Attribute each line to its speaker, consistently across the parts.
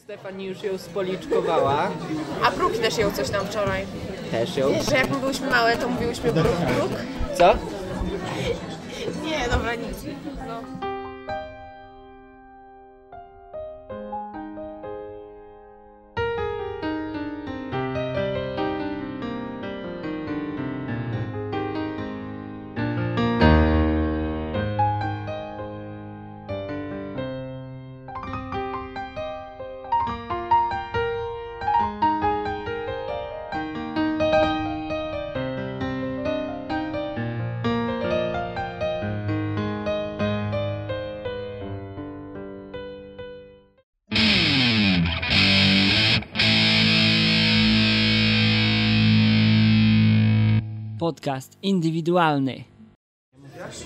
Speaker 1: Stefani już ją spoliczkowała.
Speaker 2: A Bruk też ją coś tam wczoraj.
Speaker 1: Też ją.
Speaker 2: Że jak my byłyśmy małe, to mówiłyśmy Bruk, Bruk.
Speaker 1: Co?
Speaker 2: Nie, dobra, nic. No.
Speaker 3: Podcast indywidualny.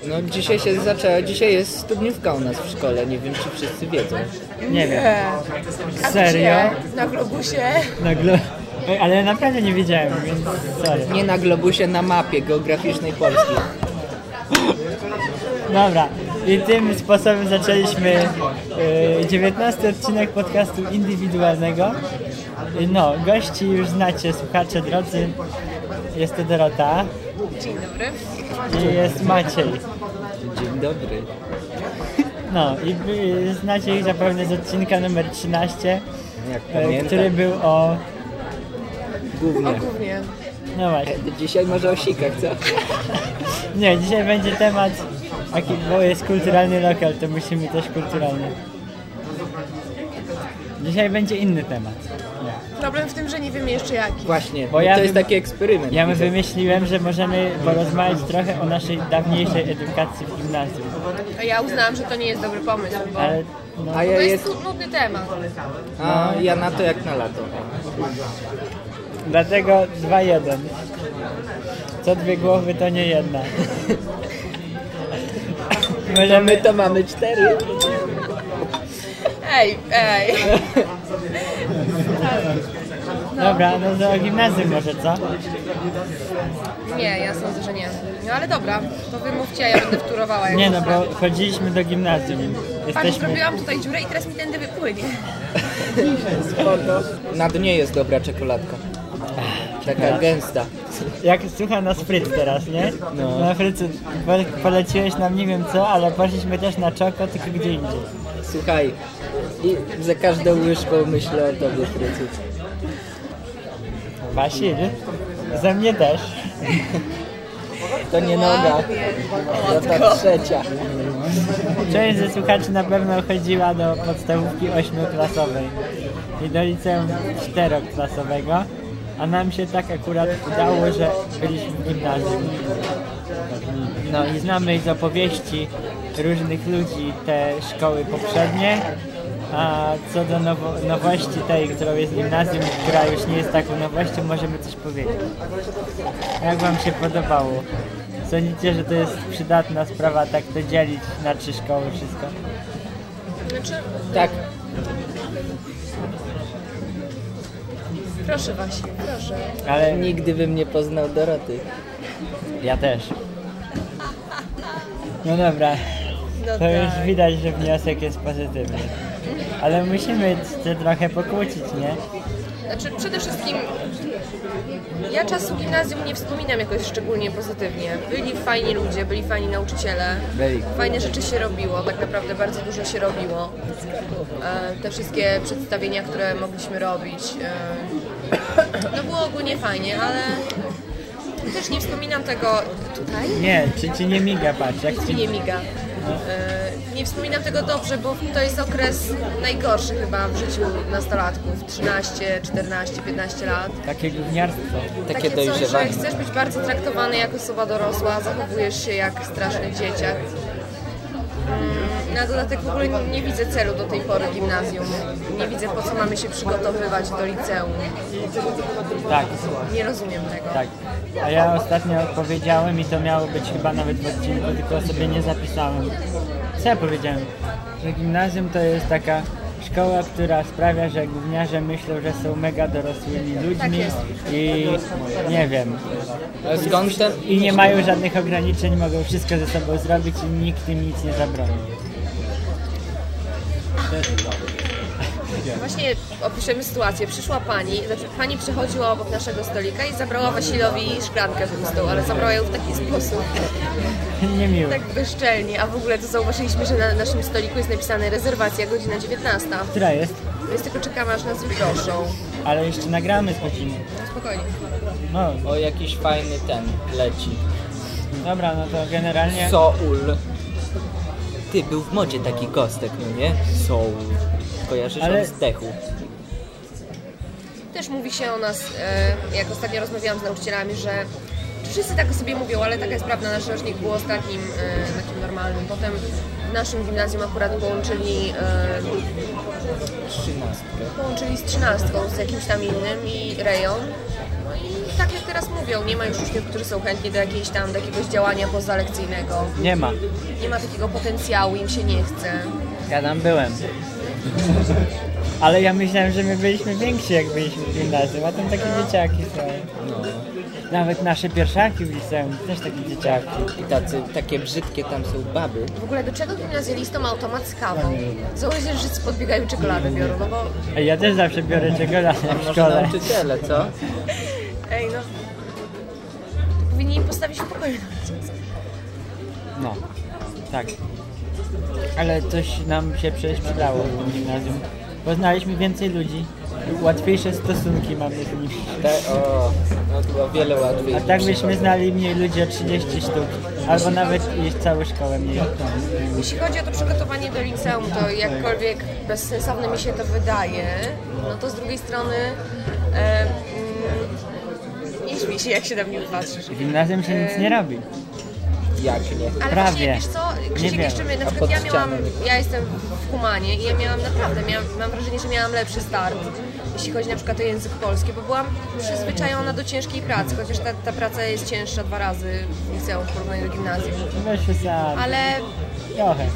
Speaker 1: No dzisiaj się zaczęło, dzisiaj jest studniówka u nas w szkole, nie wiem czy wszyscy wiedzą.
Speaker 4: Nie wiem.
Speaker 2: A
Speaker 4: Serio?
Speaker 2: gdzie? Na globusie.
Speaker 4: Na glo- Ej, ale naprawdę nie wiedziałem, więc sorry.
Speaker 1: Nie na globusie, na mapie geograficznej Polski.
Speaker 4: Dobra, i tym sposobem zaczęliśmy y, 19 odcinek podcastu indywidualnego. Y, No, gości już znacie, słuchacze drodzy. Jest to Dorota
Speaker 2: Dzień dobry.
Speaker 4: i jest Maciej.
Speaker 1: Dzień dobry.
Speaker 4: No, i y, znacie ich zapewne z odcinka numer 13,
Speaker 1: Jak
Speaker 4: y, który
Speaker 1: pamiętam,
Speaker 4: był o...
Speaker 1: głównie.
Speaker 2: Głównie.
Speaker 4: No właśnie.
Speaker 1: Dzisiaj może o sikach, co?
Speaker 4: Nie, dzisiaj będzie temat, taki, bo jest kulturalny lokal, to musimy też kulturalny. Dzisiaj będzie inny temat. Nie.
Speaker 2: Problem w tym, że nie wiemy jeszcze jaki.
Speaker 1: Właśnie,
Speaker 4: Bo
Speaker 1: bo
Speaker 4: ja
Speaker 1: to jest
Speaker 4: bym-
Speaker 1: taki eksperyment.
Speaker 4: Ja my wymyśliłem, że możemy porozmawiać trochę o naszej dawniejszej edukacji w gimnazjum,
Speaker 2: A ja uznałam, że to nie jest dobry pomysł, bo
Speaker 4: ale no,
Speaker 1: A ja
Speaker 2: to jest
Speaker 1: jest,
Speaker 2: tu- nudny temat.
Speaker 1: a ja na to jak na lato.
Speaker 4: dlatego 2-1. Co dwie głowy to nie jedna.
Speaker 1: No my
Speaker 4: Możemy,
Speaker 1: to mamy cztery.
Speaker 2: Ej, ej.
Speaker 4: dobra, no do gimnazjum może co?
Speaker 2: Nie, ja sądzę, że nie. No ale dobra, to wy mówcie, a ja będę wtórowała. jak
Speaker 4: Nie no,
Speaker 2: można.
Speaker 4: bo chodziliśmy do gimnazjum.
Speaker 2: Pan,
Speaker 4: Jesteśmy...
Speaker 2: zrobiłam tutaj dziurę i teraz mi tędy wypłynie.
Speaker 1: Na dnie jest dobra czekoladka. Taka gęsta.
Speaker 4: Jak słucha nas Fryc teraz, nie? No. Na Frycu po- poleciłeś nam nie wiem co, ale poszliśmy też na czoko, tylko gdzie indziej.
Speaker 1: Słuchaj, i za każdą łyżką myślę o tobie, Frycu.
Speaker 4: Wasil? Ze mnie też.
Speaker 1: To nie
Speaker 4: no,
Speaker 1: noga, to ta trzecia.
Speaker 4: Część ze słuchaczy na pewno chodziła do podstawówki ośmioklasowej i do liceum czteroklasowego, a nam się tak akurat udało, że byliśmy w gimnazjum. No i znamy z opowieści różnych ludzi te szkoły poprzednie, a co do nowo nowości tej, którą jest gimnazjum, która już nie jest taką nowością, możemy coś powiedzieć. Jak Wam się podobało? Sądzicie, że to jest przydatna sprawa, tak to dzielić na trzy szkoły wszystko?
Speaker 2: Znaczy,
Speaker 1: Tak,
Speaker 2: proszę Wasi, proszę.
Speaker 4: Ale
Speaker 1: nigdy bym nie poznał Doroty.
Speaker 4: ja też. No dobra,
Speaker 2: No
Speaker 4: to już
Speaker 2: tak.
Speaker 4: widać, że wniosek jest pozytywny. Ale musimy się trochę pokłócić, nie?
Speaker 2: Znaczy, przede wszystkim ja czasu gimnazjum nie wspominam jakoś szczególnie pozytywnie. Byli fajni ludzie, byli fajni nauczyciele.
Speaker 1: Byli.
Speaker 2: Fajne rzeczy się robiło, tak naprawdę bardzo dużo się robiło. E, Te wszystkie przedstawienia, które mogliśmy robić. e, No było ogólnie fajnie, ale też nie wspominam tego tutaj.
Speaker 4: Nie, czy ci nie miga, patrz, jak
Speaker 2: Ci
Speaker 4: ci...
Speaker 2: nie miga. E, Nie wspominam tego dobrze, bo to jest okres najgorszy chyba w życiu nastolatków. 13, 14, 15 lat.
Speaker 4: Takie gówniarstwo.
Speaker 1: Takie
Speaker 2: coś, że
Speaker 1: dojrzewanie.
Speaker 2: chcesz być bardzo traktowany jak osoba dorosła, zachowujesz się jak straszny dzieciak. Mm, Na dodatek w ogóle nie widzę celu do tej pory gimnazjum. Nie widzę po co mamy się przygotowywać do liceum.
Speaker 4: Tak.
Speaker 2: Nie rozumiem tego.
Speaker 4: Tak. A ja ostatnio powiedziałem i to miało być chyba nawet w odcinku, tylko sobie nie zapisałem. Co ja powiedziałem? Że gimnazjum to jest taka szkoła, która sprawia, że gówniarze myślą, że są mega dorosłymi
Speaker 2: Tak
Speaker 4: ludźmi
Speaker 2: jest.
Speaker 4: i nie wiem.
Speaker 1: A Skąd ten?
Speaker 4: I nie mają żadnych ograniczeń, mogą wszystko ze sobą zrobić i nikt im nic nie zabroni.
Speaker 2: Właśnie opiszemy sytuację. Przyszła pani, znaczy pani przechodziła obok naszego stolika i zabrała Wasilowi szklankę pustą, ale zabrała ją w taki sposób,
Speaker 4: Niemiły.
Speaker 2: tak bezczelnie, a w ogóle to zauważyliśmy, że na naszym stoliku jest napisane rezerwacja godzina 19.
Speaker 4: Która jest?
Speaker 2: Więc tylko czekamy, aż nas wyproszą.
Speaker 4: Ale jeszcze nagramy z godziny.
Speaker 2: Spokojnie.
Speaker 4: No,
Speaker 1: O, jakiś fajny ten leci.
Speaker 4: dobra, no to generalnie...
Speaker 1: Soul. Ty, był w modzie taki kostek, no nie? Soul. Kojarzysz
Speaker 4: Ale-
Speaker 1: on z techu.
Speaker 2: Też mówi się o nas, e, jak ostatnio rozmawiałam z nauczycielami, że wszyscy tak o sobie mówią, ale taka jest prawda, nasz rocznik był ostatnim e, takim normalnym. Potem w naszym gimnazjum akurat połączyli e,
Speaker 1: Trzynastkę.
Speaker 2: połączyli z trzynastką, z jakimś tam innym i rejon. No i tak jak teraz mówią, nie ma już uczniów, którzy są chętni do jakiejś tam, do jakiegoś działania pozalekcyjnego.
Speaker 4: Nie ma.
Speaker 2: Nie ma takiego potencjału, im się nie chce.
Speaker 4: Ja tam byłem. Ale ja myślałem, że my byliśmy więksi, jak byliśmy w gimnazjum, a tam takie dzieciaki są.
Speaker 1: No.
Speaker 4: Nawet nasze pierwszaki w liceum, też takie dzieciaki.
Speaker 1: I tacy, takie brzydkie tam są baby.
Speaker 2: W ogóle do czego gimnazjalistom automat z kawą? Założyć, że podbiegają czekoladę biorą, no bo
Speaker 4: Ej, ja też zawsze biorę czekoladę w
Speaker 1: Może
Speaker 4: szkole.
Speaker 1: nauczyciele, co?
Speaker 2: ej no... To powinni im postawić w pokoju.
Speaker 4: No, tak. Ale coś nam się przecież przydało w tym gimnazjum. Poznaliśmy więcej ludzi, łatwiejsze stosunki mamy z nimi.
Speaker 1: Te, o, no to było wiele łatwiej.
Speaker 4: A
Speaker 1: niż
Speaker 4: tak
Speaker 1: w
Speaker 4: byśmy
Speaker 1: szkole.
Speaker 4: znali mniej ludzi o 30 sztuk, albo nawet i całą szkołę mniej.
Speaker 2: Jeśli chodzi o to przygotowanie do liceum, to jakkolwiek bezsensowne mi się to wydaje, no to z drugiej strony e, mm, nie śmiej się, jak się na mnie patrzysz.
Speaker 4: W gimnazjum się nic nie robi.
Speaker 1: Jak nie?
Speaker 2: Ale
Speaker 4: Prawie.
Speaker 2: właśnie, wiesz co,
Speaker 4: Nie
Speaker 2: Krzysiek
Speaker 4: wiem.
Speaker 2: jeszcze my, na
Speaker 1: A pod
Speaker 2: przykład ja miałam,
Speaker 1: ścianą.
Speaker 2: ja jestem w humanie i ja miałam naprawdę, miałam, mam wrażenie, że miałam lepszy start, jeśli chodzi na przykład o język polski, bo byłam przyzwyczajona do ciężkiej pracy, chociaż ta, ta praca jest cięższa dwa razy w liceum w porównaniu do gimnazjum.
Speaker 4: Weź się za
Speaker 2: Ale
Speaker 4: trochę.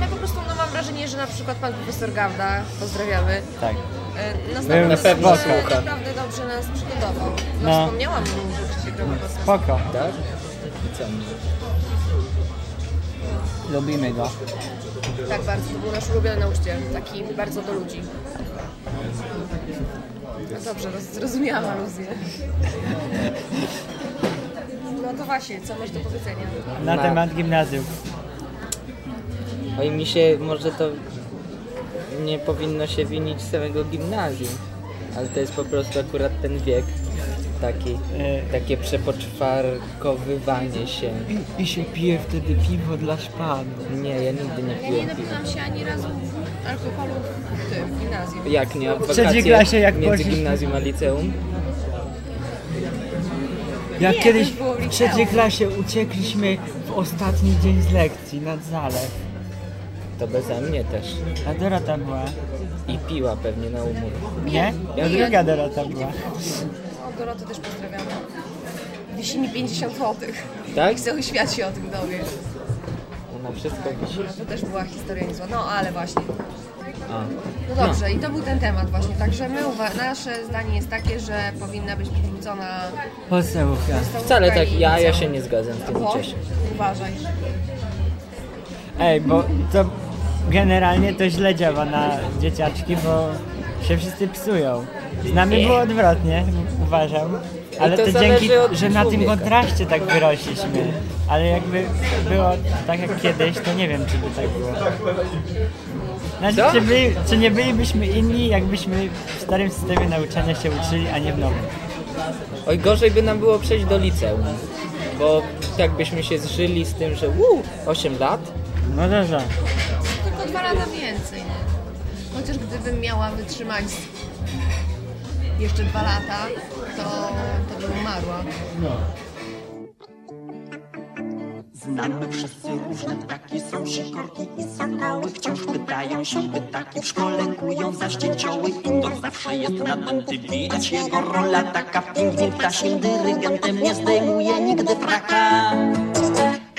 Speaker 2: Ja po prostu no, mam wrażenie, że na przykład pan profesor Gawda, pozdrawiamy,
Speaker 4: Tak.
Speaker 2: e, nas
Speaker 4: Był na
Speaker 2: naprawdę
Speaker 4: pewno
Speaker 2: dobrze-
Speaker 1: słucha.
Speaker 2: naprawdę dobrze nas przygotował. No,
Speaker 4: No.
Speaker 2: wspomniałam mu, że Krzysiek robi podcast.
Speaker 4: Spoko.
Speaker 1: Tak? I co?
Speaker 4: Lubimy go.
Speaker 2: Tak bardzo, to był nasz ulubiony nauczyciel, taki bardzo do ludzi. No dobrze, roz, zrozumiałam aluzję. No to właśnie, co masz do powiedzenia?
Speaker 4: Na
Speaker 1: Ma-
Speaker 4: temat gimnazjum.
Speaker 1: Oj, No mi się może to nie powinno się winić samego gimnazjum, ale to jest po prostu akurat ten wiek taki,
Speaker 4: E.
Speaker 1: takie przepoczwarkowywanie się.
Speaker 4: I się pije wtedy piwo dla szpanu.
Speaker 1: Nie, ja nigdy nie
Speaker 2: Ja nie
Speaker 1: piłem piwa.
Speaker 2: napiłam się ani razu alkoholu w tym, w gimnazjum.
Speaker 1: Jak nie? W
Speaker 4: trzeciej
Speaker 1: wakacje
Speaker 4: klasie jak
Speaker 1: między
Speaker 4: poszliśmy-
Speaker 1: gimnazjum a liceum?
Speaker 4: Jak
Speaker 2: Nie, to
Speaker 4: kiedyś
Speaker 2: już było w
Speaker 4: w
Speaker 2: liceum.
Speaker 4: trzeciej klasie uciekliśmy w ostatni dzień z lekcji nad zalew.
Speaker 1: To beze mnie też.
Speaker 4: A Dorota była.
Speaker 1: I piła pewnie na umór.
Speaker 4: Nie? Ja druga Dorota była.
Speaker 2: O, Dorotę też pozdrawiamy. Wisi mi 50 złotych.
Speaker 1: Tak?
Speaker 2: I cały świat się o tym dowie.
Speaker 1: Ona wszystko wisi.
Speaker 2: To też była historia niezła. No ale właśnie.
Speaker 1: A.
Speaker 2: No dobrze, i to był ten temat właśnie. Także my uwa- nasze zdanie jest takie, że powinna być przywrócona
Speaker 4: Podstawówka.
Speaker 1: Wcale tak,
Speaker 2: i
Speaker 1: ja, ja
Speaker 2: liceum.
Speaker 1: się nie zgadzam z tym
Speaker 2: Bo?
Speaker 1: Czesiu.
Speaker 2: Uważaj.
Speaker 4: Ej, bo to generalnie to źle działa na dzieciaczki, bo się wszyscy psują. Z nami było odwrotnie, uważam. Ale
Speaker 1: I to
Speaker 4: to, dzięki,
Speaker 1: zależy od
Speaker 4: że na tym
Speaker 1: człowieka.
Speaker 4: kontraście tak wyrośliśmy. Ale jakby było tak jak kiedyś, to nie wiem, czy by tak było.
Speaker 1: Co?
Speaker 4: Znaczy, czy, byli, czy nie bylibyśmy inni, jakbyśmy w starym systemie nauczania się uczyli, a nie w nowym.
Speaker 1: Oj, gorzej by nam było przejść do liceum, bo tak byśmy się zżyli z tym, że uu, 8 lat,
Speaker 4: No dobrze.
Speaker 2: Tylko dwa lata więcej, nie? Chociaż gdybym miała wytrzymać jeszcze dwa lata, to, to bym umarła.
Speaker 5: Znamy wszyscy różne ptaki, są sikorki i sokoły Wciąż pytają się pytaki, w szkole kują zaszczycioły Pindor zawsze jest nadęty, widać jego rola taka Pingwin ptasim dyrygentem nie zdejmuje nigdy fraka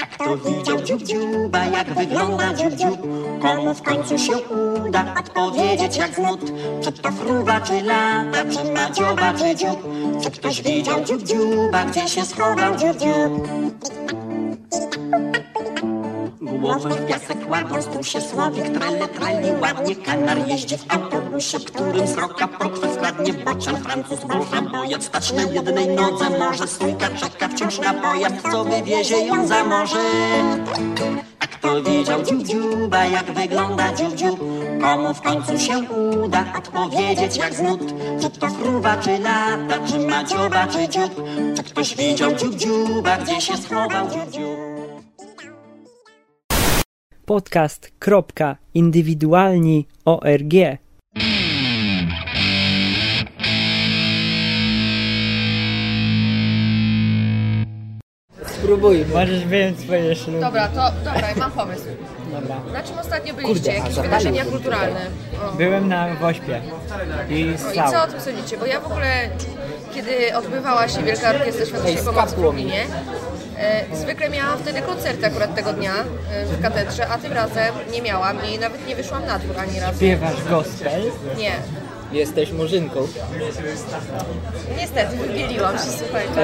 Speaker 5: A kto widział dziób dziuba, jak wygląda dziób dziób Komu w końcu się uda odpowiedzieć jak znud Czy to fruwa, czy lata, czy madzioba, czy dziób Czy ktoś widział dziób dziuba, gdzie się schował dziób dziób Gubę głowę w piasek łapiąc tu się słowik trele treli ładnie kanar jeździ w autobusie, którym z roka potwór składnie bocian Francuz burza bojec stać na jednej nodze może stójka czeka wciąż na pojazd co wywiezie ją za morze a kto widział Tak dziu, dziuba, jak wygląda dziu, dziu Komu w końcu się uda odpowiedzieć Tak jak znud Czy to fruwa, czy lata, czy maciowa, czy dziób Czy ktoś widział dziu, dziuba, gdzie się schował dziu, dziu
Speaker 4: podcast.indywidualni.org
Speaker 1: Spróbujmy.
Speaker 4: Możesz wyjąć swoje śluby.
Speaker 2: Dobra, to dobra, ja mam pomysł.
Speaker 4: Dobra.
Speaker 2: Na czym ostatnio
Speaker 1: Kurde,
Speaker 2: byliście?
Speaker 1: a
Speaker 2: Jakieś
Speaker 1: zapalił
Speaker 2: wydarzenia
Speaker 1: kurde.
Speaker 2: kulturalne? O.
Speaker 4: Byłem na Wośpie i
Speaker 2: No I co o
Speaker 4: Sał.
Speaker 2: tym sądzicie? Bo ja w ogóle, kiedy odbywała się Wielka Orkiestra Świątecznej
Speaker 1: Ej,
Speaker 2: Pomocy w
Speaker 1: skapło mi.
Speaker 2: Lublinie, e, zwykle miałam wtedy koncerty akurat tego dnia e, w katedrze, a tym razem nie miałam i nawet nie wyszłam na dwór ani razu.
Speaker 4: Śpiewasz gospel?
Speaker 2: Nie.
Speaker 1: Jesteś murzynką.
Speaker 2: Niestety, wybieliłam się, słuchajcie. no.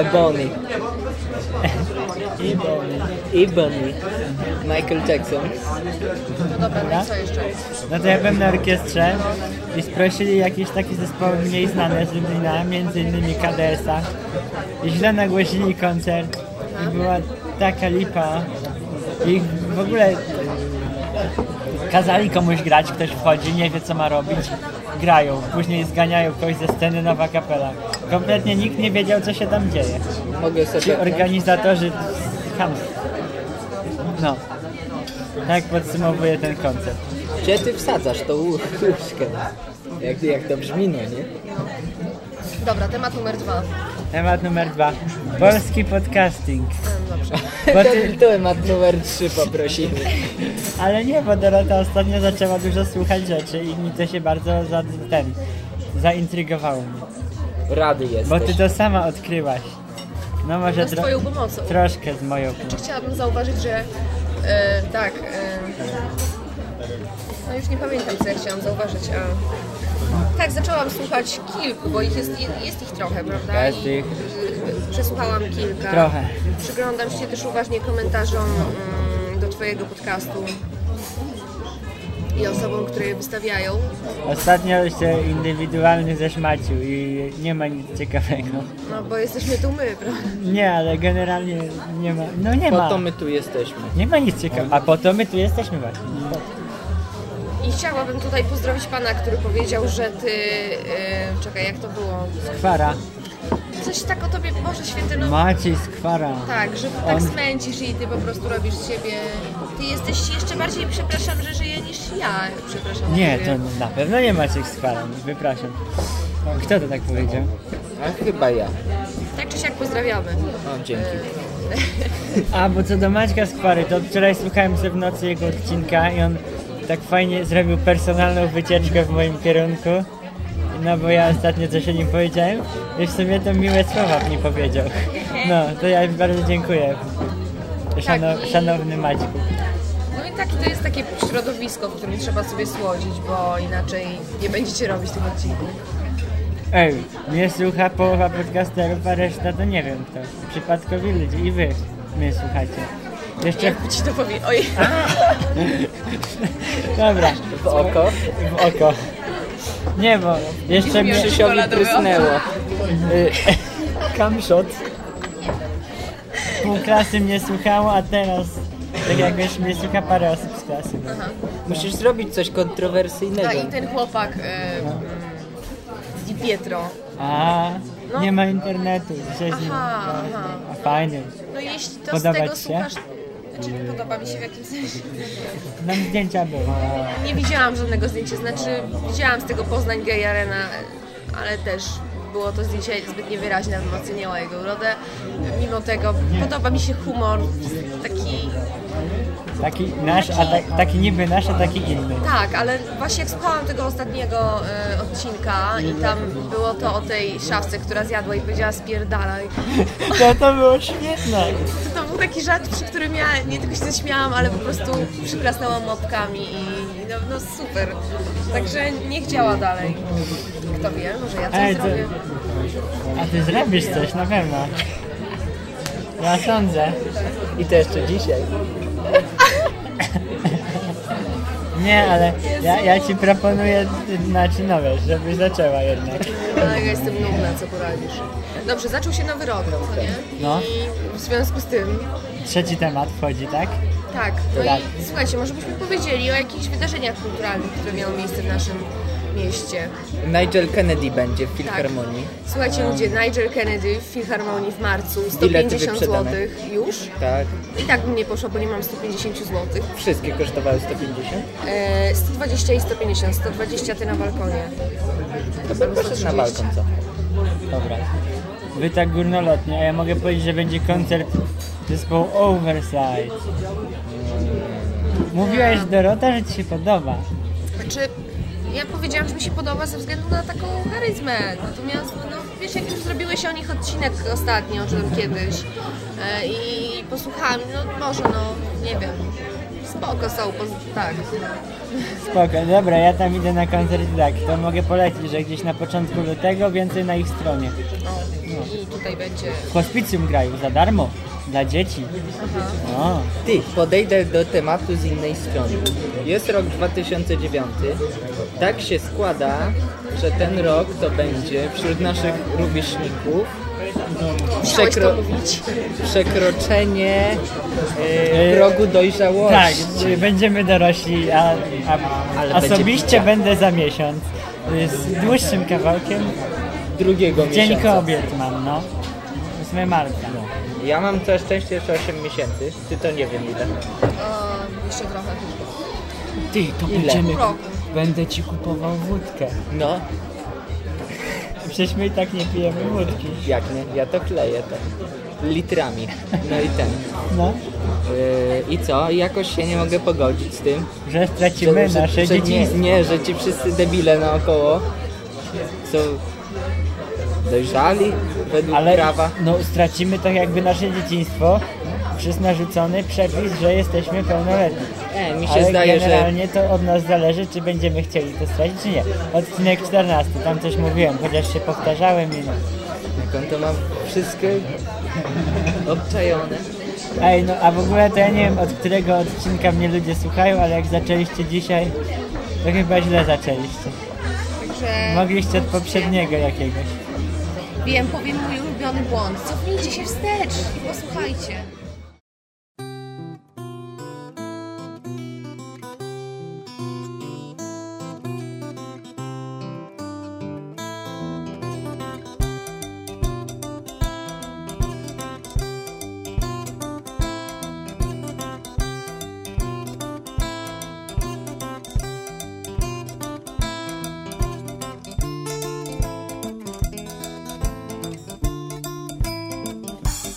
Speaker 1: Ebony. Ebony. Michael Jackson.
Speaker 2: No dobra, no i co jeszcze?
Speaker 4: No to ja byłem na orkiestrze i sprosili jakieś takie zespoły mniej znane z Lublina, między innymi Kadersa. I źle nagłosili koncert i była taka lipa. I w ogóle kazali komuś grać, ktoś wchodzi, nie wie co ma robić. Grają, później zganiają kogoś ze sceny, nowa kapela. Kompletnie nikt nie wiedział co się tam dzieje.
Speaker 1: Mogę
Speaker 4: Ci
Speaker 1: sobie...
Speaker 4: organizatorzy tam. No. Tak podsumowuję ten koncert.
Speaker 1: Gdzie ty wsadzasz tą łó- łóżkę? Jak, jak to brzmi, no nie?
Speaker 2: Dobra, temat numer dwa.
Speaker 4: Temat numer dwa. Polski podcasting.
Speaker 2: Mm, Dobrze.
Speaker 4: Bo
Speaker 1: To
Speaker 4: ty,
Speaker 1: temat numer 3 poprosimy.
Speaker 4: ale nie, bo Dorota ostatnio zaczęła dużo słuchać rzeczy i mi to się bardzo za, ten, zaintrygowało. Mnie.
Speaker 1: Rady jesteś.
Speaker 4: Bo ty to sama odkryłaś. No może
Speaker 2: To z
Speaker 4: tro-
Speaker 2: twoją pomocą.
Speaker 4: troszkę z moją pomocą.
Speaker 2: Chciałabym zauważyć, że e, tak. E, no już nie pamiętam, co ja chciałam zauważyć. A, tak, zaczęłam słuchać kilku, bo ich jest, jest ich trochę, prawda?
Speaker 1: Jest ich.
Speaker 2: e, Przesłuchałam kilka.
Speaker 4: Trochę.
Speaker 2: Przyglądam się też uważnie komentarzom mm, do Twojego podcastu i osobom, które je wystawiają.
Speaker 4: Ostatnio się indywidualny zeszmacił i nie ma nic ciekawego.
Speaker 2: No bo jesteśmy tu my, prawda?
Speaker 4: Nie, ale generalnie nie ma. No nie
Speaker 1: Po
Speaker 4: ma.
Speaker 1: to my tu jesteśmy.
Speaker 4: Nie ma nic ciekawego. A po to my tu jesteśmy właśnie.
Speaker 2: I chciałabym tutaj pozdrowić Pana, który powiedział, że Ty... e, czekaj, jak to było?
Speaker 4: Skwara.
Speaker 2: Coś tak o Tobie, Boże Święty, no
Speaker 4: Maciej Skwara.
Speaker 2: Tak, że ty
Speaker 4: On-
Speaker 2: tak smęcisz i ty po prostu robisz z siebie. Ty jesteś jeszcze bardziej, przepraszam, że żyję niż ja. Przepraszam.
Speaker 4: Nie,
Speaker 2: że
Speaker 4: to
Speaker 2: żyję.
Speaker 4: na pewno nie Maciek Skwara. Wypraszam. Kto to tak powiedział?
Speaker 1: A chyba ja.
Speaker 2: Tak czy siak pozdrawiamy.
Speaker 1: O, dzięki.
Speaker 4: A, bo co do Maćka Skwary, to wczoraj słuchałem sobie w nocy jego odcinka i on tak fajnie zrobił personalną wycieczkę w moim kierunku. No bo ja ostatnio coś o nim powiedziałem i w sumie to miłe słowa mi powiedział. No, to ja bardzo dziękuję. Szano,
Speaker 2: Tak, i-
Speaker 4: szanowny Maćku.
Speaker 2: No i tak, to jest takie środowisko, w którym trzeba sobie słodzić, bo inaczej nie będziecie robić tych odcinków.
Speaker 4: Ej, mnie słucha połowa podcasterów, a reszta to nie wiem kto. Przypadkowi ludzie i wy mnie słuchacie. Jeszcze...
Speaker 2: Jak ci to powie. Oj,
Speaker 4: Dobra.
Speaker 1: W oko.
Speaker 4: w oko. Nie, bo jeszcze mi
Speaker 1: Krzysiowi
Speaker 2: Czekoladowe
Speaker 1: prysnęło.
Speaker 4: kamshot. Pół klasy mnie słuchało, a teraz tak jakoś mnie słucha parę osób z klasy. no.
Speaker 1: Musisz zrobić coś
Speaker 2: no
Speaker 1: kontrowersyjnego.
Speaker 2: i ten chłopak e, mm, Di Pietro.
Speaker 4: A,
Speaker 2: No.
Speaker 4: nie ma internetu. Dzisiaj z nim.
Speaker 2: Aha, aha.
Speaker 4: A fajnie.
Speaker 2: No jeśli to
Speaker 4: Podoba
Speaker 2: z tego
Speaker 4: ci się?
Speaker 2: słuchasz. Znaczy, podoba mi się w jakimś sensie.
Speaker 4: Nam zdjęcia były.
Speaker 2: Nie widziałam żadnego zdjęcia, znaczy widziałam z tego Poznań Gay Arena, ale też było to zdjęcie zbyt niewyraźne, abym oceniała jego urodę. Mimo tego podoba mi się humor taki,
Speaker 4: Taki nasz, a ta, taki niby nasz, a taki inny.
Speaker 2: tak, ale właśnie jak słuchałam tego ostatniego e, odcinka i tam było to o tej szafce, która zjadła i powiedziała spierdalaj,
Speaker 4: To, to było świetne.
Speaker 2: to, to był taki żart, przy którym ja nie tylko się zaśmiałam, ale po prostu przyklasnęłam łapkami i no, no super. Także niech działa dalej. Kto wie, może ja coś
Speaker 4: Ej, to-
Speaker 2: zrobię.
Speaker 4: A ty zrobisz coś, na pewno. Ja sądzę.
Speaker 1: I to jeszcze dzisiaj.
Speaker 4: Nie, ale ja, ja ci proponuję, znaczy no wiesz, żebyś zaczęła jednak.
Speaker 2: Ale ja jestem nudna, co poradzisz. Dobrze, zaczął się nowy rok, co nie?
Speaker 4: No.
Speaker 2: I w związku z tym,
Speaker 4: Trzeci temat wchodzi, tak?
Speaker 2: tak. No
Speaker 4: Tak.
Speaker 2: i słuchajcie, może byśmy powiedzieli o jakichś wydarzeniach kulturalnych, które miały miejsce w naszym mieście.
Speaker 1: Nigel Kennedy będzie w Filharmonii.
Speaker 2: Słuchajcie ludzie, Nigel Kennedy w Filharmonii w marcu,
Speaker 1: Bilety
Speaker 2: 150
Speaker 1: wyprzedane.
Speaker 2: zł już.
Speaker 1: Tak.
Speaker 2: I tak bym nie poszła, bo nie mam 150 zł.
Speaker 1: Wszystkie kosztowały 150.
Speaker 2: E, 120 i 150, 120 ty na balkonie.
Speaker 1: To bym poszedł na balkon, co?
Speaker 4: Dobra. Wy tak górnolotnie, a ja mogę powiedzieć, że będzie koncert zespołu Oversize. Mówiłaś Dorota, że ci się podoba.
Speaker 2: Znaczy, ja powiedziałam, że mi się podoba ze względu na taką charyzmę. Natomiast, no wiesz, jak już zrobiłeś o nich odcinek ostatnio, czy tam kiedyś, e, i posłuchałam, no może, no nie wiem. Spoko są, poz- tak.
Speaker 4: Spoko, dobra, ja tam idę na koncert i tak, to mogę polecić, że gdzieś na początku lutego więcej na ich stronie.
Speaker 2: O, no, I tutaj będzie.
Speaker 4: W hospicjum grają za darmo, dla dzieci.
Speaker 2: Aha.
Speaker 4: O,
Speaker 1: Ty, podejdę do tematu z innej strony. Jest rok 2009. Tak się składa, że ten rok to będzie wśród naszych rówieśników
Speaker 2: Musiałeś
Speaker 1: Przekro-
Speaker 2: to mówić.
Speaker 1: przekroczenie
Speaker 4: Yy,
Speaker 1: e, progu dojrzałości.
Speaker 4: tak, czy będziemy dorośli, a,
Speaker 1: Ale
Speaker 4: a
Speaker 1: będzie
Speaker 4: osobiście
Speaker 1: picia.
Speaker 4: będę za miesiąc. y, Z dłuższym kawałkiem.
Speaker 1: drugiego
Speaker 4: Dzień
Speaker 1: miesiąca.
Speaker 4: kobiet mam, no. 8 marca.
Speaker 1: No. Ja mam całe szczęście jeszcze 8 miesięcy. Ty to nie wiem ile.
Speaker 2: O, jeszcze trochę.
Speaker 4: Ty, to
Speaker 1: Ile? będziemy-
Speaker 2: Rok.
Speaker 4: Będę ci kupował wódkę.
Speaker 1: No,
Speaker 4: Przecież my i tak nie pijemy wódki.
Speaker 1: jak nie? Ja to kleję to. Litrami. No i ten.
Speaker 4: No,
Speaker 1: E, I co? Jakoś się nie mogę pogodzić z tym.
Speaker 4: że stracimy
Speaker 1: że,
Speaker 4: nasze
Speaker 1: że, że,
Speaker 4: dzieciństwo.
Speaker 1: Nie, że ci wszyscy debile naokoło są dojrzali według
Speaker 4: Ale
Speaker 1: prawa.
Speaker 4: no, stracimy tak jakby nasze dzieciństwo przez narzucony przepis, że jesteśmy pełnoletni.
Speaker 1: E, mi się
Speaker 4: Ale
Speaker 1: zdaje, że
Speaker 4: generalnie to od nas zależy, czy będziemy chcieli to stracić, czy nie. Odcinek 14, tam coś mówiłem, chociaż się powtarzałem i no.
Speaker 1: jak on to ma wszystko obczajone.
Speaker 4: Ej, no a w ogóle to ja nie wiem, od którego odcinka mnie ludzie słuchają, ale jak zaczęliście dzisiaj, to chyba źle zaczęliście.
Speaker 2: Także
Speaker 4: Mogliście od poprzedniego jakiegoś.
Speaker 2: wiem, powiem mój ulubiony błąd. Cofnijcie się wstecz i posłuchajcie.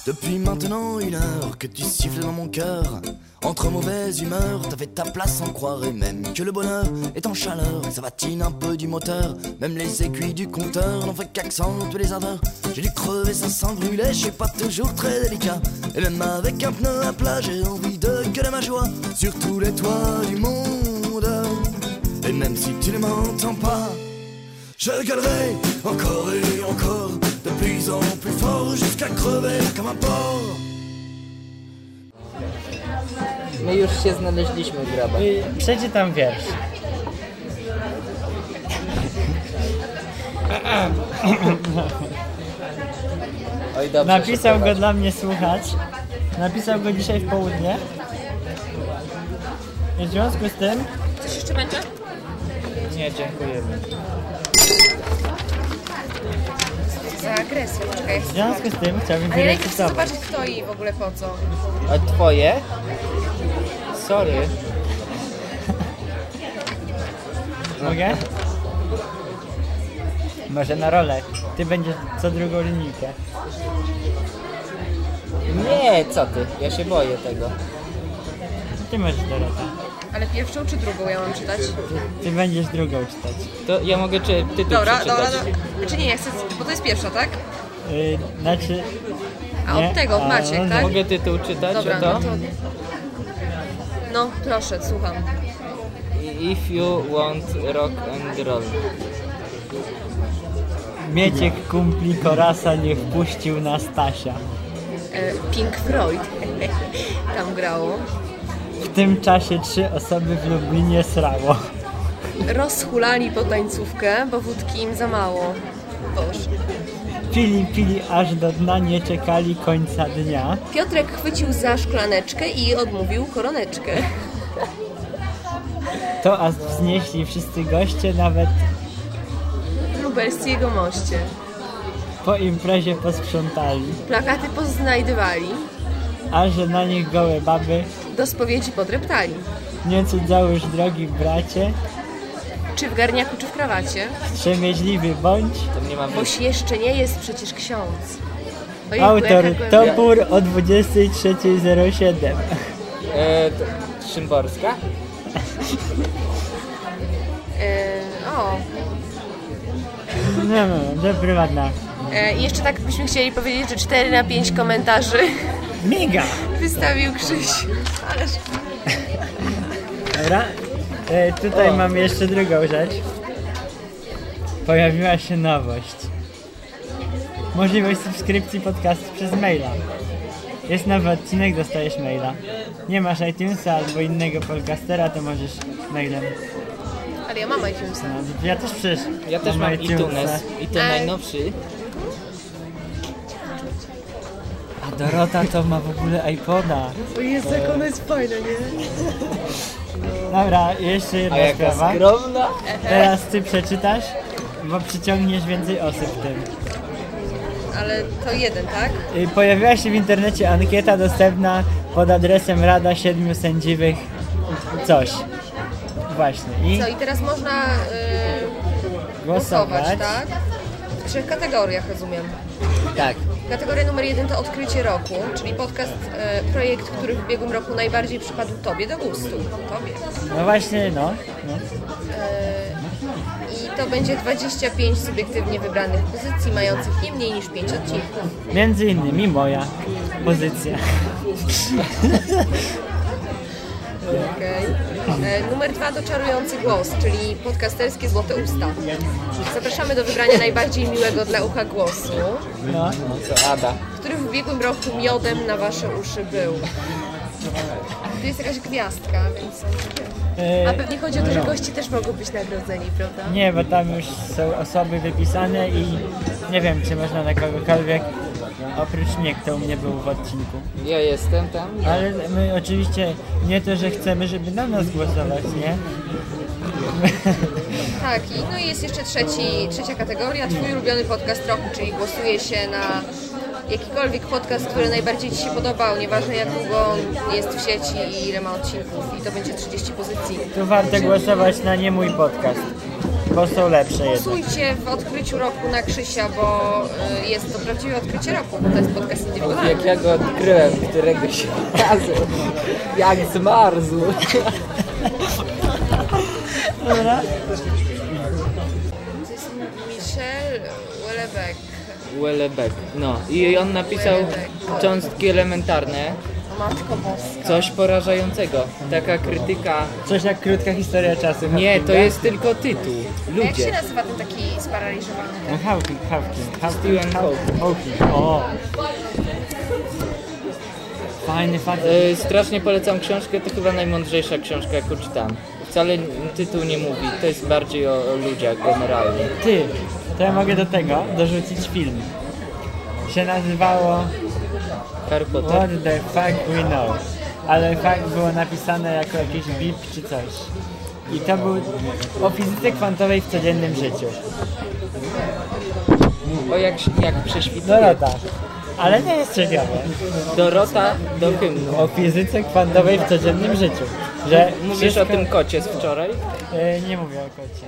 Speaker 6: Depuis maintenant une heure que tu siffles dans mon cœur. Entre mauvaise humeur, t'avais ta place en croire et même que le bonheur est en chaleur. Ça vatine un peu du moteur, même les aiguilles du compteur n'ont fait qu'accentuer les ardeurs. J'ai dû crever ça sans brûler, je suis pas toujours très délicat. Et même avec un pneu à plat, j'ai envie de gueuler ma joie sur tous les toits du monde. Et même si tu ne m'entends pas, je gueulerai encore et encore, de plus en plus fort, jusqu'à crever comme un porc.
Speaker 1: My już się znaleźliśmy, graba.
Speaker 4: I przeczytam wiersz.
Speaker 1: Oj, dobrze,
Speaker 4: Napisał
Speaker 1: się
Speaker 4: go dla mnie słuchacz. Napisał go dzisiaj w południe. I w związku z tym...
Speaker 2: Coś jeszcze będzie?
Speaker 1: prowadzi. Nie, dziękujemy.
Speaker 2: Za agresję, poczekaj.
Speaker 4: W związku z tym chciałbym
Speaker 2: Ale ja najpierw chcę
Speaker 4: wyrecytować.
Speaker 2: zobaczyć kto i w ogóle po co.
Speaker 1: A twoje? Sorry.
Speaker 4: Mogę? Może na rolę. Ty będziesz co drugą linijkę.
Speaker 1: Nie, co ty? Ja się boję tego.
Speaker 4: No Ty możesz Dorota.
Speaker 2: Ale pierwszą czy drugą ja mam czytać?
Speaker 4: Ty będziesz drugą czytać.
Speaker 1: To ja mogę czy tytuł
Speaker 2: Dobra,
Speaker 1: przeczytać.
Speaker 2: dobra, dobra. Znaczy nie, ja chcę, bo to jest pierwsza, tak?
Speaker 4: Yy, znaczy...
Speaker 2: A
Speaker 4: Nie,
Speaker 2: od tego, od
Speaker 4: a,
Speaker 2: Maciek,
Speaker 4: no,
Speaker 2: tak?
Speaker 1: Mogę tytuł czytać
Speaker 2: Dobra,
Speaker 1: o
Speaker 2: no
Speaker 1: to?
Speaker 2: to... No, proszę, słucham.
Speaker 1: If you want rock and roll.
Speaker 4: Mieciek kumpli Korasa nie wpuścił na Stasia.
Speaker 2: E, Pink Floyd tam grało.
Speaker 4: W tym czasie trzy osoby w Lublinie srało.
Speaker 2: Rozhulali po tańcówkę, bo wódki im za mało. Boże.
Speaker 4: Pili, pili aż do dna, nie czekali końca dnia.
Speaker 2: Piotrek chwycił za szklaneczkę i odmówił koroneczkę.
Speaker 4: To aż wznieśli wszyscy goście, nawet
Speaker 2: Lubelscy jego moście.
Speaker 4: po imprezie posprzątali.
Speaker 2: Plakaty poznajdywali,
Speaker 4: A że na nich gołe baby,
Speaker 2: do spowiedzi podreptali.
Speaker 4: nie cudzołóż drogi bracie,
Speaker 2: Czy w garniaku, czy w krawacie,
Speaker 4: strzemięźliwy bądź,
Speaker 1: Tam nie ma wyjścia.
Speaker 2: boś jeszcze nie jest przecież ksiądz. Ojejku,
Speaker 4: autor
Speaker 2: jaka głębia-
Speaker 4: Topór o 23.07.
Speaker 1: E, to, Szymborska?
Speaker 2: E, o,
Speaker 4: No, no, dobry ładna.
Speaker 2: e, i jeszcze tak byśmy chcieli powiedzieć, że 4 na 5 komentarzy
Speaker 4: Mega!
Speaker 2: wystawił Krzyś. Ależ
Speaker 4: Dobra. E, tutaj mam jeszcze drugą rzecz. Pojawiła się nowość. Możliwość subskrypcji podcastu przez maila. Jest nowy odcinek, dostajesz maila. Nie masz iTunesa albo innego podcastera, to możesz mailem.
Speaker 2: Ale ja mam iTunesa.
Speaker 4: No, ja też przecież
Speaker 1: Ja też mam
Speaker 4: iTunesa.
Speaker 1: iTunes i to
Speaker 2: Ale-
Speaker 1: najnowszy.
Speaker 4: A Dorota to ma w ogóle iPoda.
Speaker 2: Bo jest jak ona jest fajna, nie?
Speaker 4: Dobra, jeszcze jedna
Speaker 1: A jaka
Speaker 4: sprawa.
Speaker 1: skromna!
Speaker 4: Teraz ty przeczytasz, bo przyciągniesz więcej osób tym.
Speaker 2: Ale to jeden, tak?
Speaker 4: Y, Pojawiła się w internecie ankieta dostępna pod adresem Rada Siedmiu Sędziwych coś. Właśnie. I
Speaker 2: Co, i teraz można y,
Speaker 4: głosować.
Speaker 2: głosować, tak? W trzech kategoriach, rozumiem.
Speaker 1: Tak,
Speaker 2: Kategoria numer jeden to odkrycie roku, czyli podcast, e, projekt, który w ubiegłym roku najbardziej przypadł Tobie do gustu. Tobie.
Speaker 4: No właśnie, no. no.
Speaker 2: I to będzie 25 subiektywnie wybranych pozycji, mających nie mniej niż 5 odcinków.
Speaker 4: Między innymi moja pozycja.
Speaker 2: Okej. E, Numer dwa to czarujący głos, czyli podcasterskie złote usta. Zapraszamy do wybrania najbardziej miłego dla ucha głosu,
Speaker 4: No.
Speaker 1: no co Ada.
Speaker 2: który w ubiegłym roku miodem na Wasze uszy był. Tu jest jakaś gwiazdka, więc...
Speaker 4: Y,
Speaker 2: A pewnie chodzi o to, że goście też mogą być nagrodzeni, prawda?
Speaker 4: nie, bo tam już są osoby wypisane i nie wiem, czy można na kogokolwiek oprócz mnie, kto u mnie był w odcinku.
Speaker 1: Ja jestem tam. Nie.
Speaker 4: Ale my oczywiście nie to, że chcemy, żeby na nas głosować, nie?
Speaker 2: Tak, i no i jest jeszcze trzeci, trzecia kategoria, twój ulubiony podcast roku, czyli głosuje się na jakikolwiek podcast, który najbardziej Ci się podobał, nieważne jak długo on jest w sieci i ile ma odcinków i to będzie 30 pozycji.
Speaker 4: Tu warto głosować na nie mój podcast, bo są lepsze jednak.
Speaker 2: Głosujcie w odkryciu roku na Krzysia, bo y, jest to prawdziwe odkrycie roku, bo to jest podcast indywidualny.
Speaker 1: Jak ja go odkryłem któregoś razu, jak zmarzł.
Speaker 2: To jest Michel Welebek.
Speaker 1: Łelebek. No i on napisał
Speaker 2: Łelebek.
Speaker 1: cząstki elementarne,
Speaker 2: O Matko Boska.
Speaker 1: coś porażającego. Taka krytyka.
Speaker 4: Coś jak krótka historia czasu.
Speaker 1: Nie, to
Speaker 4: Hawkinga.
Speaker 1: jest tylko tytuł.
Speaker 2: A No Jak się
Speaker 1: Ludzie.
Speaker 2: nazywa ten taki sparaliżowany?
Speaker 4: No, Hawking, Hawking, Hawking,
Speaker 1: Stephen Hawking.
Speaker 4: Hawking. O. Fajny fakt.
Speaker 1: Y, Strasznie polecam książkę, to chyba najmądrzejsza książka, jaką czytam. Wcale n- tytuł nie mówi, to jest bardziej o, o ludziach generalnie.
Speaker 4: Ty, to ja mogę do tego dorzucić film. Się nazywało
Speaker 1: Harry Potter.
Speaker 4: What the fuck we know. Ale fakt było napisane jako jakiś bip czy coś. I to był o fizyce kwantowej w codziennym życiu.
Speaker 1: O jak, jak prześwituje.
Speaker 4: Dorota. Ale nie jest ciekawe.
Speaker 1: Dorota do hymnu.
Speaker 4: o fizyce kwantowej w codziennym życiu. Że
Speaker 1: Mówisz
Speaker 4: wszystko-
Speaker 1: o tym kocie z wczoraj?
Speaker 4: E, nie mówię o kocie.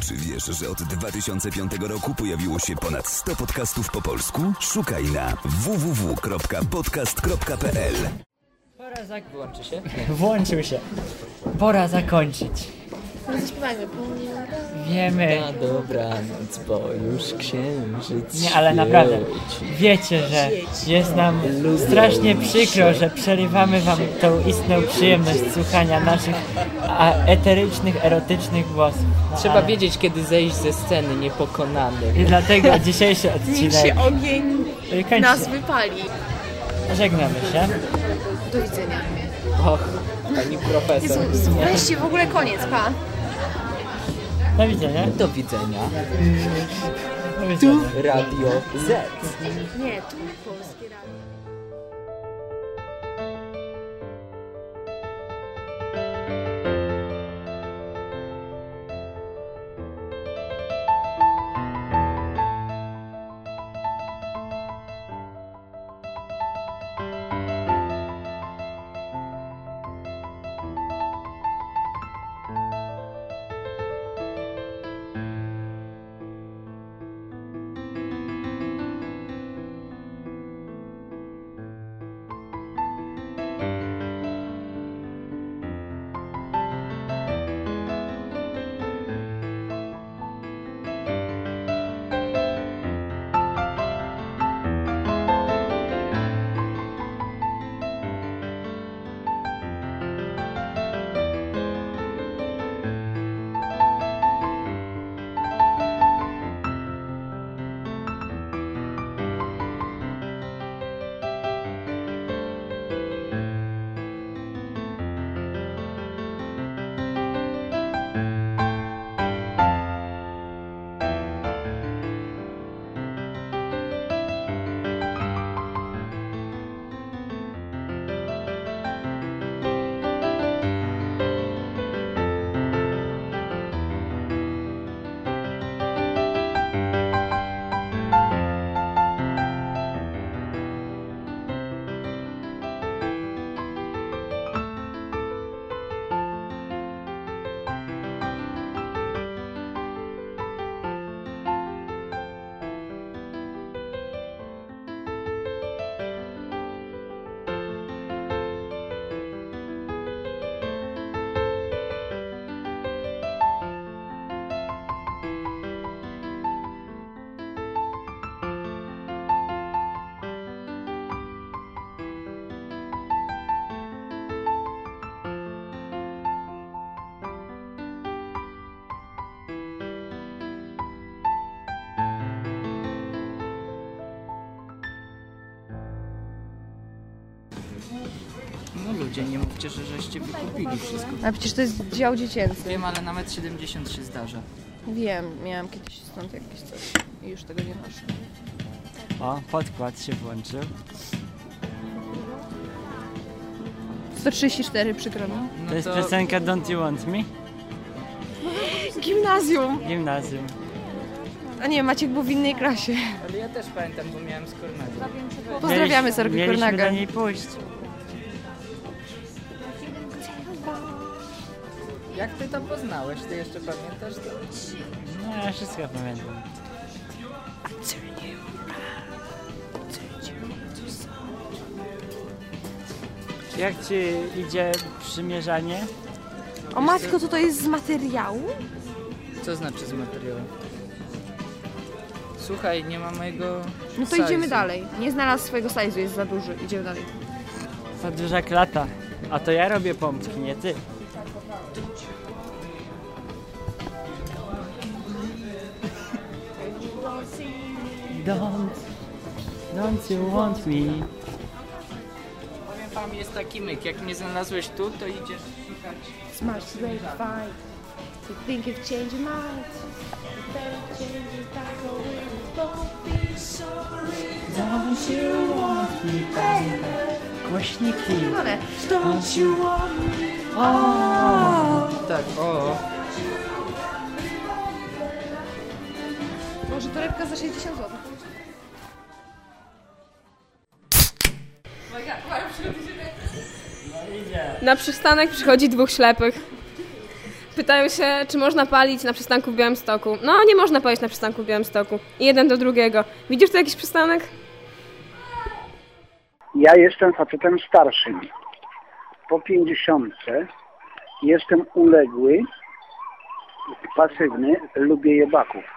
Speaker 7: Czy wiesz, że od 2005 roku pojawiło się ponad 100 podcastów po polsku? Szukaj na www.podcast.pl
Speaker 1: Pora za... Włączy się?
Speaker 4: Włączył się. Pora zakończyć.
Speaker 2: Zaśpiewajmy.
Speaker 4: Wiemy,
Speaker 1: Na dobranoc, bo już księżyc
Speaker 4: nie, ale naprawdę,
Speaker 1: świeci.
Speaker 4: wiecie, że jest nam strasznie przykro, że przerywamy wam tą istną przyjemność słuchania naszych a, eterycznych, erotycznych głosów. No,
Speaker 1: Trzeba
Speaker 4: ale-
Speaker 1: wiedzieć, kiedy zejść ze sceny niepokonany.
Speaker 4: I dlatego dzisiejszy
Speaker 2: Niech się
Speaker 4: odcinek
Speaker 2: ogień
Speaker 4: kończy.
Speaker 2: nas wypali.
Speaker 4: Żegnamy się.
Speaker 2: Do widzenia.
Speaker 1: Och, pani
Speaker 2: Jezu,
Speaker 1: profesor.
Speaker 2: Wreszcie w ogóle koniec, pa.
Speaker 4: Do widzenia.
Speaker 1: Do widzenia.
Speaker 4: Do widzenia.
Speaker 1: Radio Z.
Speaker 2: Nie, tu polskie radio.
Speaker 8: No ludzie, nie mówcie, że żeście wykupili wszystko.
Speaker 2: A przecież to jest dział dziecięcy.
Speaker 8: Wiem, ale nawet 70 się zdarza.
Speaker 2: Wiem, miałam kiedyś stąd jakieś coś i już tego nie noszę.
Speaker 4: O, podkład się włączył.
Speaker 2: 134, przykro mi.
Speaker 8: No
Speaker 4: To jest piosenka Don't You Want Me?
Speaker 2: Gimnazjum!
Speaker 4: Gimnazjum.
Speaker 2: A nie, Maciek był w innej klasie.
Speaker 8: Ale ja też pamiętam, bo miałem z Kornelem.
Speaker 2: Pozdrawiamy
Speaker 4: Mieliśmy-
Speaker 2: Sorki
Speaker 4: Mieliśmy do
Speaker 2: Kornaga.
Speaker 4: niej pójść.
Speaker 8: Jak ty to poznałeś? Ty jeszcze pamiętasz to?
Speaker 4: No, ja wszystko pamiętam. Jak ci idzie przymierzanie?
Speaker 9: O matko, to to jest z materiału?
Speaker 8: Co znaczy z materiałem? Słuchaj, nie ma mojego...
Speaker 2: No to
Speaker 8: size'u.
Speaker 2: idziemy dalej. Nie znalazł swojego size'u, jest za duży. Idziemy dalej.
Speaker 4: Za duża klata. A to ja robię pompki, nie ty. Don't, don't you want me?
Speaker 8: Powiem wam, jest taki myk. Jak mnie znalazłeś tu, to idziesz szukać.
Speaker 9: Smash great fight. You think you've changed your mind. Better change it back or we'll both be sorry.
Speaker 4: Don't you want me, baby? Głośniki.
Speaker 2: Ale
Speaker 9: Don't you want me?
Speaker 8: Tak, o.
Speaker 2: może torebka za 60 zł.
Speaker 10: Na przystanek przychodzi dwóch ślepych. Pytają się, czy można palić na przystanku w Białymstoku. No, nie można palić na przystanku w Białymstoku. I jeden do drugiego. Widzisz tu jakiś przystanek?
Speaker 11: Ja jestem facetem starszym. po 50 jestem uległy, pasywny, lubię jebaków.